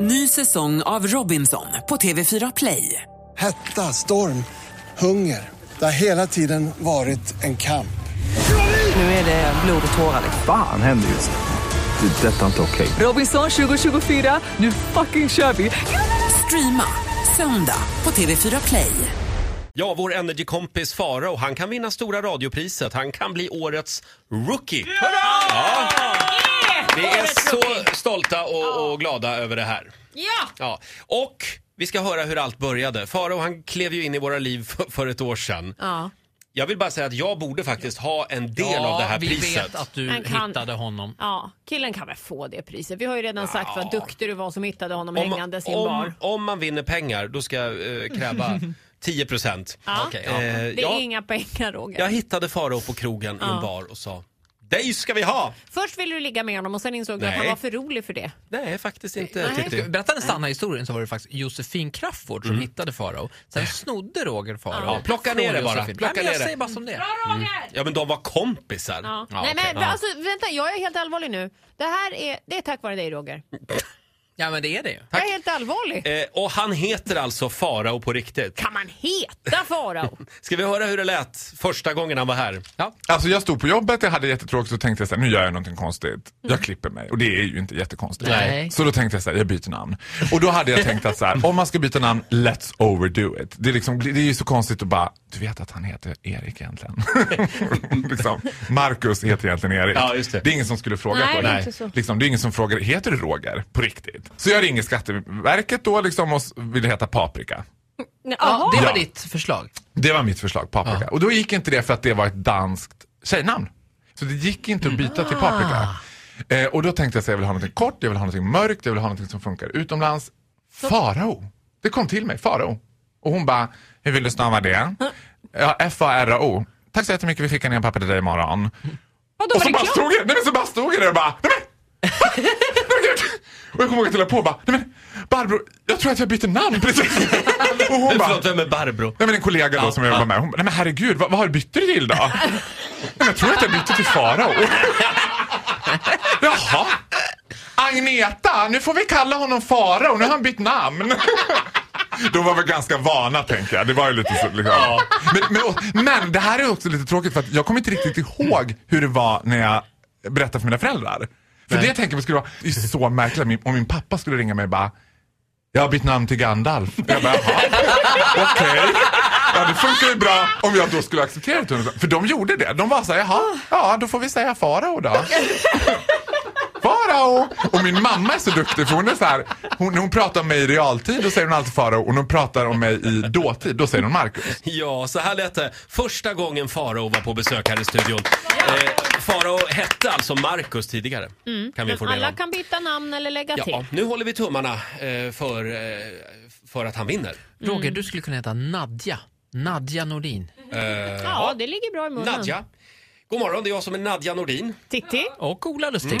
Ny säsong av Robinson på TV4 Play. Hetta, storm, hunger. Det har hela tiden varit en kamp. Nu är det blod och tårar. Fan händer just nu. Det. är Detta är inte okej. Robinson 2024, nu fucking kör vi! Streama söndag på TV4 Play. Ja, vår energikompis Farao, han kan vinna stora radiopriset. Han kan bli årets rookie. Ja. Vi är så stolta och, och glada över det här. Ja! Ja. Och vi ska höra hur allt började. Farao, han klev ju in i våra liv för, för ett år sedan. ja. Jag vill bara säga att jag borde faktiskt ha en del ja, av det här vi priset. vet att du Han kan- hittade honom. Ja, killen kan väl få det priset. Vi har ju redan sagt vad duktig du var som hittade honom hängandes i en om, bar. om man vinner pengar, då ska jag eh, kräva 10 procent. Ja. Okej, ja. Eh, Det är ja, inga pengar Roger. jag hittade Farao på krogen i en bar och sa, dig ska vi ha! Först ville du ligga med honom och sen insåg du att Nej. han var för rolig för det. Nej, faktiskt inte. Nej. Titti. Berätta den sanna historien så var det Mm. faktiskt Josefin Crafoord som hittade Farao. Sen snodde Roger Farao. Ja, plocka från ner det bara. Josefin. Plocka Nej, men jag ner det. säger bara som det är. Ja, men de var kompisar. Ja. Ja, Nej okej. men alltså vänta, jag är helt allvarlig nu. Det här är, det är tack vare dig Roger. Ja, men det är det ju. Jag är helt allvarlig. Eh, och han heter alltså Farao på riktigt. Kan man heta Farao? Ska vi höra hur det lät första gången han var här? Ja. Alltså jag stod på jobbet, jag hade jättetråkigt och tänkte jag så här, nu gör jag någonting konstigt. Mm. Jag klipper mig och det är ju inte jättekonstigt. Nej. Så då tänkte jag så här, jag byter namn. Och då hade jag tänkt att så här, om man ska byta namn, let's overdo it. Det är, liksom, det är ju så konstigt att bara, du vet att han heter Erik egentligen. liksom, Marcus heter egentligen Erik. Ja, just det. är ingen som skulle fråga Nej, på det är det. inte så. Liksom, det är ingen som frågar, heter du Roger på riktigt? Så jag ringer Skatteverket då liksom, och s- vill heta Paprika. Ja, det var Ja. ditt förslag. Det var mitt förslag, paprika. Och då gick inte det för att det var ett danskt tjejnamn. Så det gick inte att byta till paprika. Eh, och då tänkte jag så här, jag vill ha något kort, jag vill ha något mörkt, jag vill ha något som funkar utomlands. Farao. Det kom till mig, Farao. Och hon bara, hur vill du stava det? Ja, F-A-R-O. Tack så jättemycket, vi skickar ner papper till dig imorgon. Vadå Och var så det bara klart? stod jag, nej men så bara stod jag där och bara, nej men! Och jag kommer ihåg att jag la på och bara, nej men Barbro, jag tror att jag byter namn precis. Och hon Men bara, förlåt, vem är Barbro? Nej men en kollega då som jag jobbar med, hon bara, nej men herregud, vad, vad har du bytt dig till då? Nej, men jag tror att jag bytte till farao. Jaha. Agneta, nu får vi kalla honom farao, nu har han bytt namn. De var väl ganska vana tänker jag. Det var ju lite så, liksom. men, men, och- men det här är också lite tråkigt för att jag kommer inte riktigt ihåg hur det var när jag berättade för mina föräldrar. För det tänker jag skulle vara det är så märkligt om min, om min pappa skulle ringa mig och bara jag har bytt namn till Gandalf. Jag bara, jaha, okej. Ja, det funkar ju bra om jag då skulle acceptera det. till 100%. För de gjorde det. De var så här, jaha, ja då får vi säga farao då. Farao! Och min mamma är så duktig för hon är så här, hon, när hon pratar om mig i realtid då säger hon alltid farao och när hon pratar om mig i dåtid då säger hon Markus. Ja, så här lät det första gången Farao var på besök här i studion. Eh, Farao hette alltså Markus tidigare. Kan vi informera Mm. Alla om. kan byta namn eller lägga Ja, till. nu håller vi tummarna eh, för, eh, för att han vinner. Roger, du skulle kunna heta Nadja. Nadja Nordin. Ja, det ligger bra i munnen. Nadja. God morgon, det är jag som är Nadja Nordin. Titti. Och Ola Lustig.